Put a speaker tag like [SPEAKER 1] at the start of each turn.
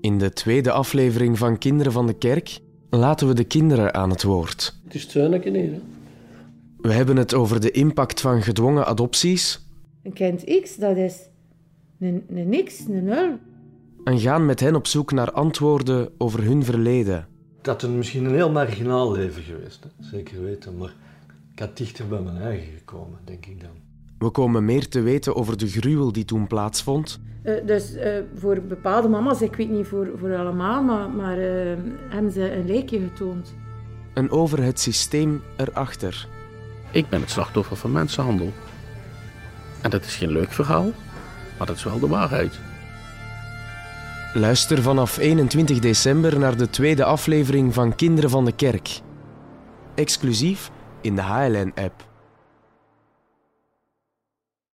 [SPEAKER 1] In de tweede aflevering van Kinderen van de Kerk laten we de kinderen aan het woord.
[SPEAKER 2] Het is het zuinigje hier. hè.
[SPEAKER 1] We hebben het over de impact van gedwongen adopties
[SPEAKER 3] Een kind X, dat is een, een X, een 0.
[SPEAKER 1] en gaan met hen op zoek naar antwoorden over hun verleden.
[SPEAKER 4] Dat had een, misschien een heel marginaal leven geweest, hè? zeker weten. Maar ik had dichter bij mijn eigen gekomen, denk ik dan.
[SPEAKER 1] We komen meer te weten over de gruwel die toen plaatsvond
[SPEAKER 3] Eh, dus eh, voor bepaalde mama's, ik weet niet voor, voor allemaal, maar, maar eh, hebben ze een lijkje getoond.
[SPEAKER 1] en over het systeem erachter.
[SPEAKER 5] Ik ben het slachtoffer van mensenhandel. En dat is geen leuk verhaal, maar dat is wel de waarheid.
[SPEAKER 1] Luister vanaf 21 december naar de tweede aflevering van Kinderen van de Kerk. Exclusief in de HLN-app.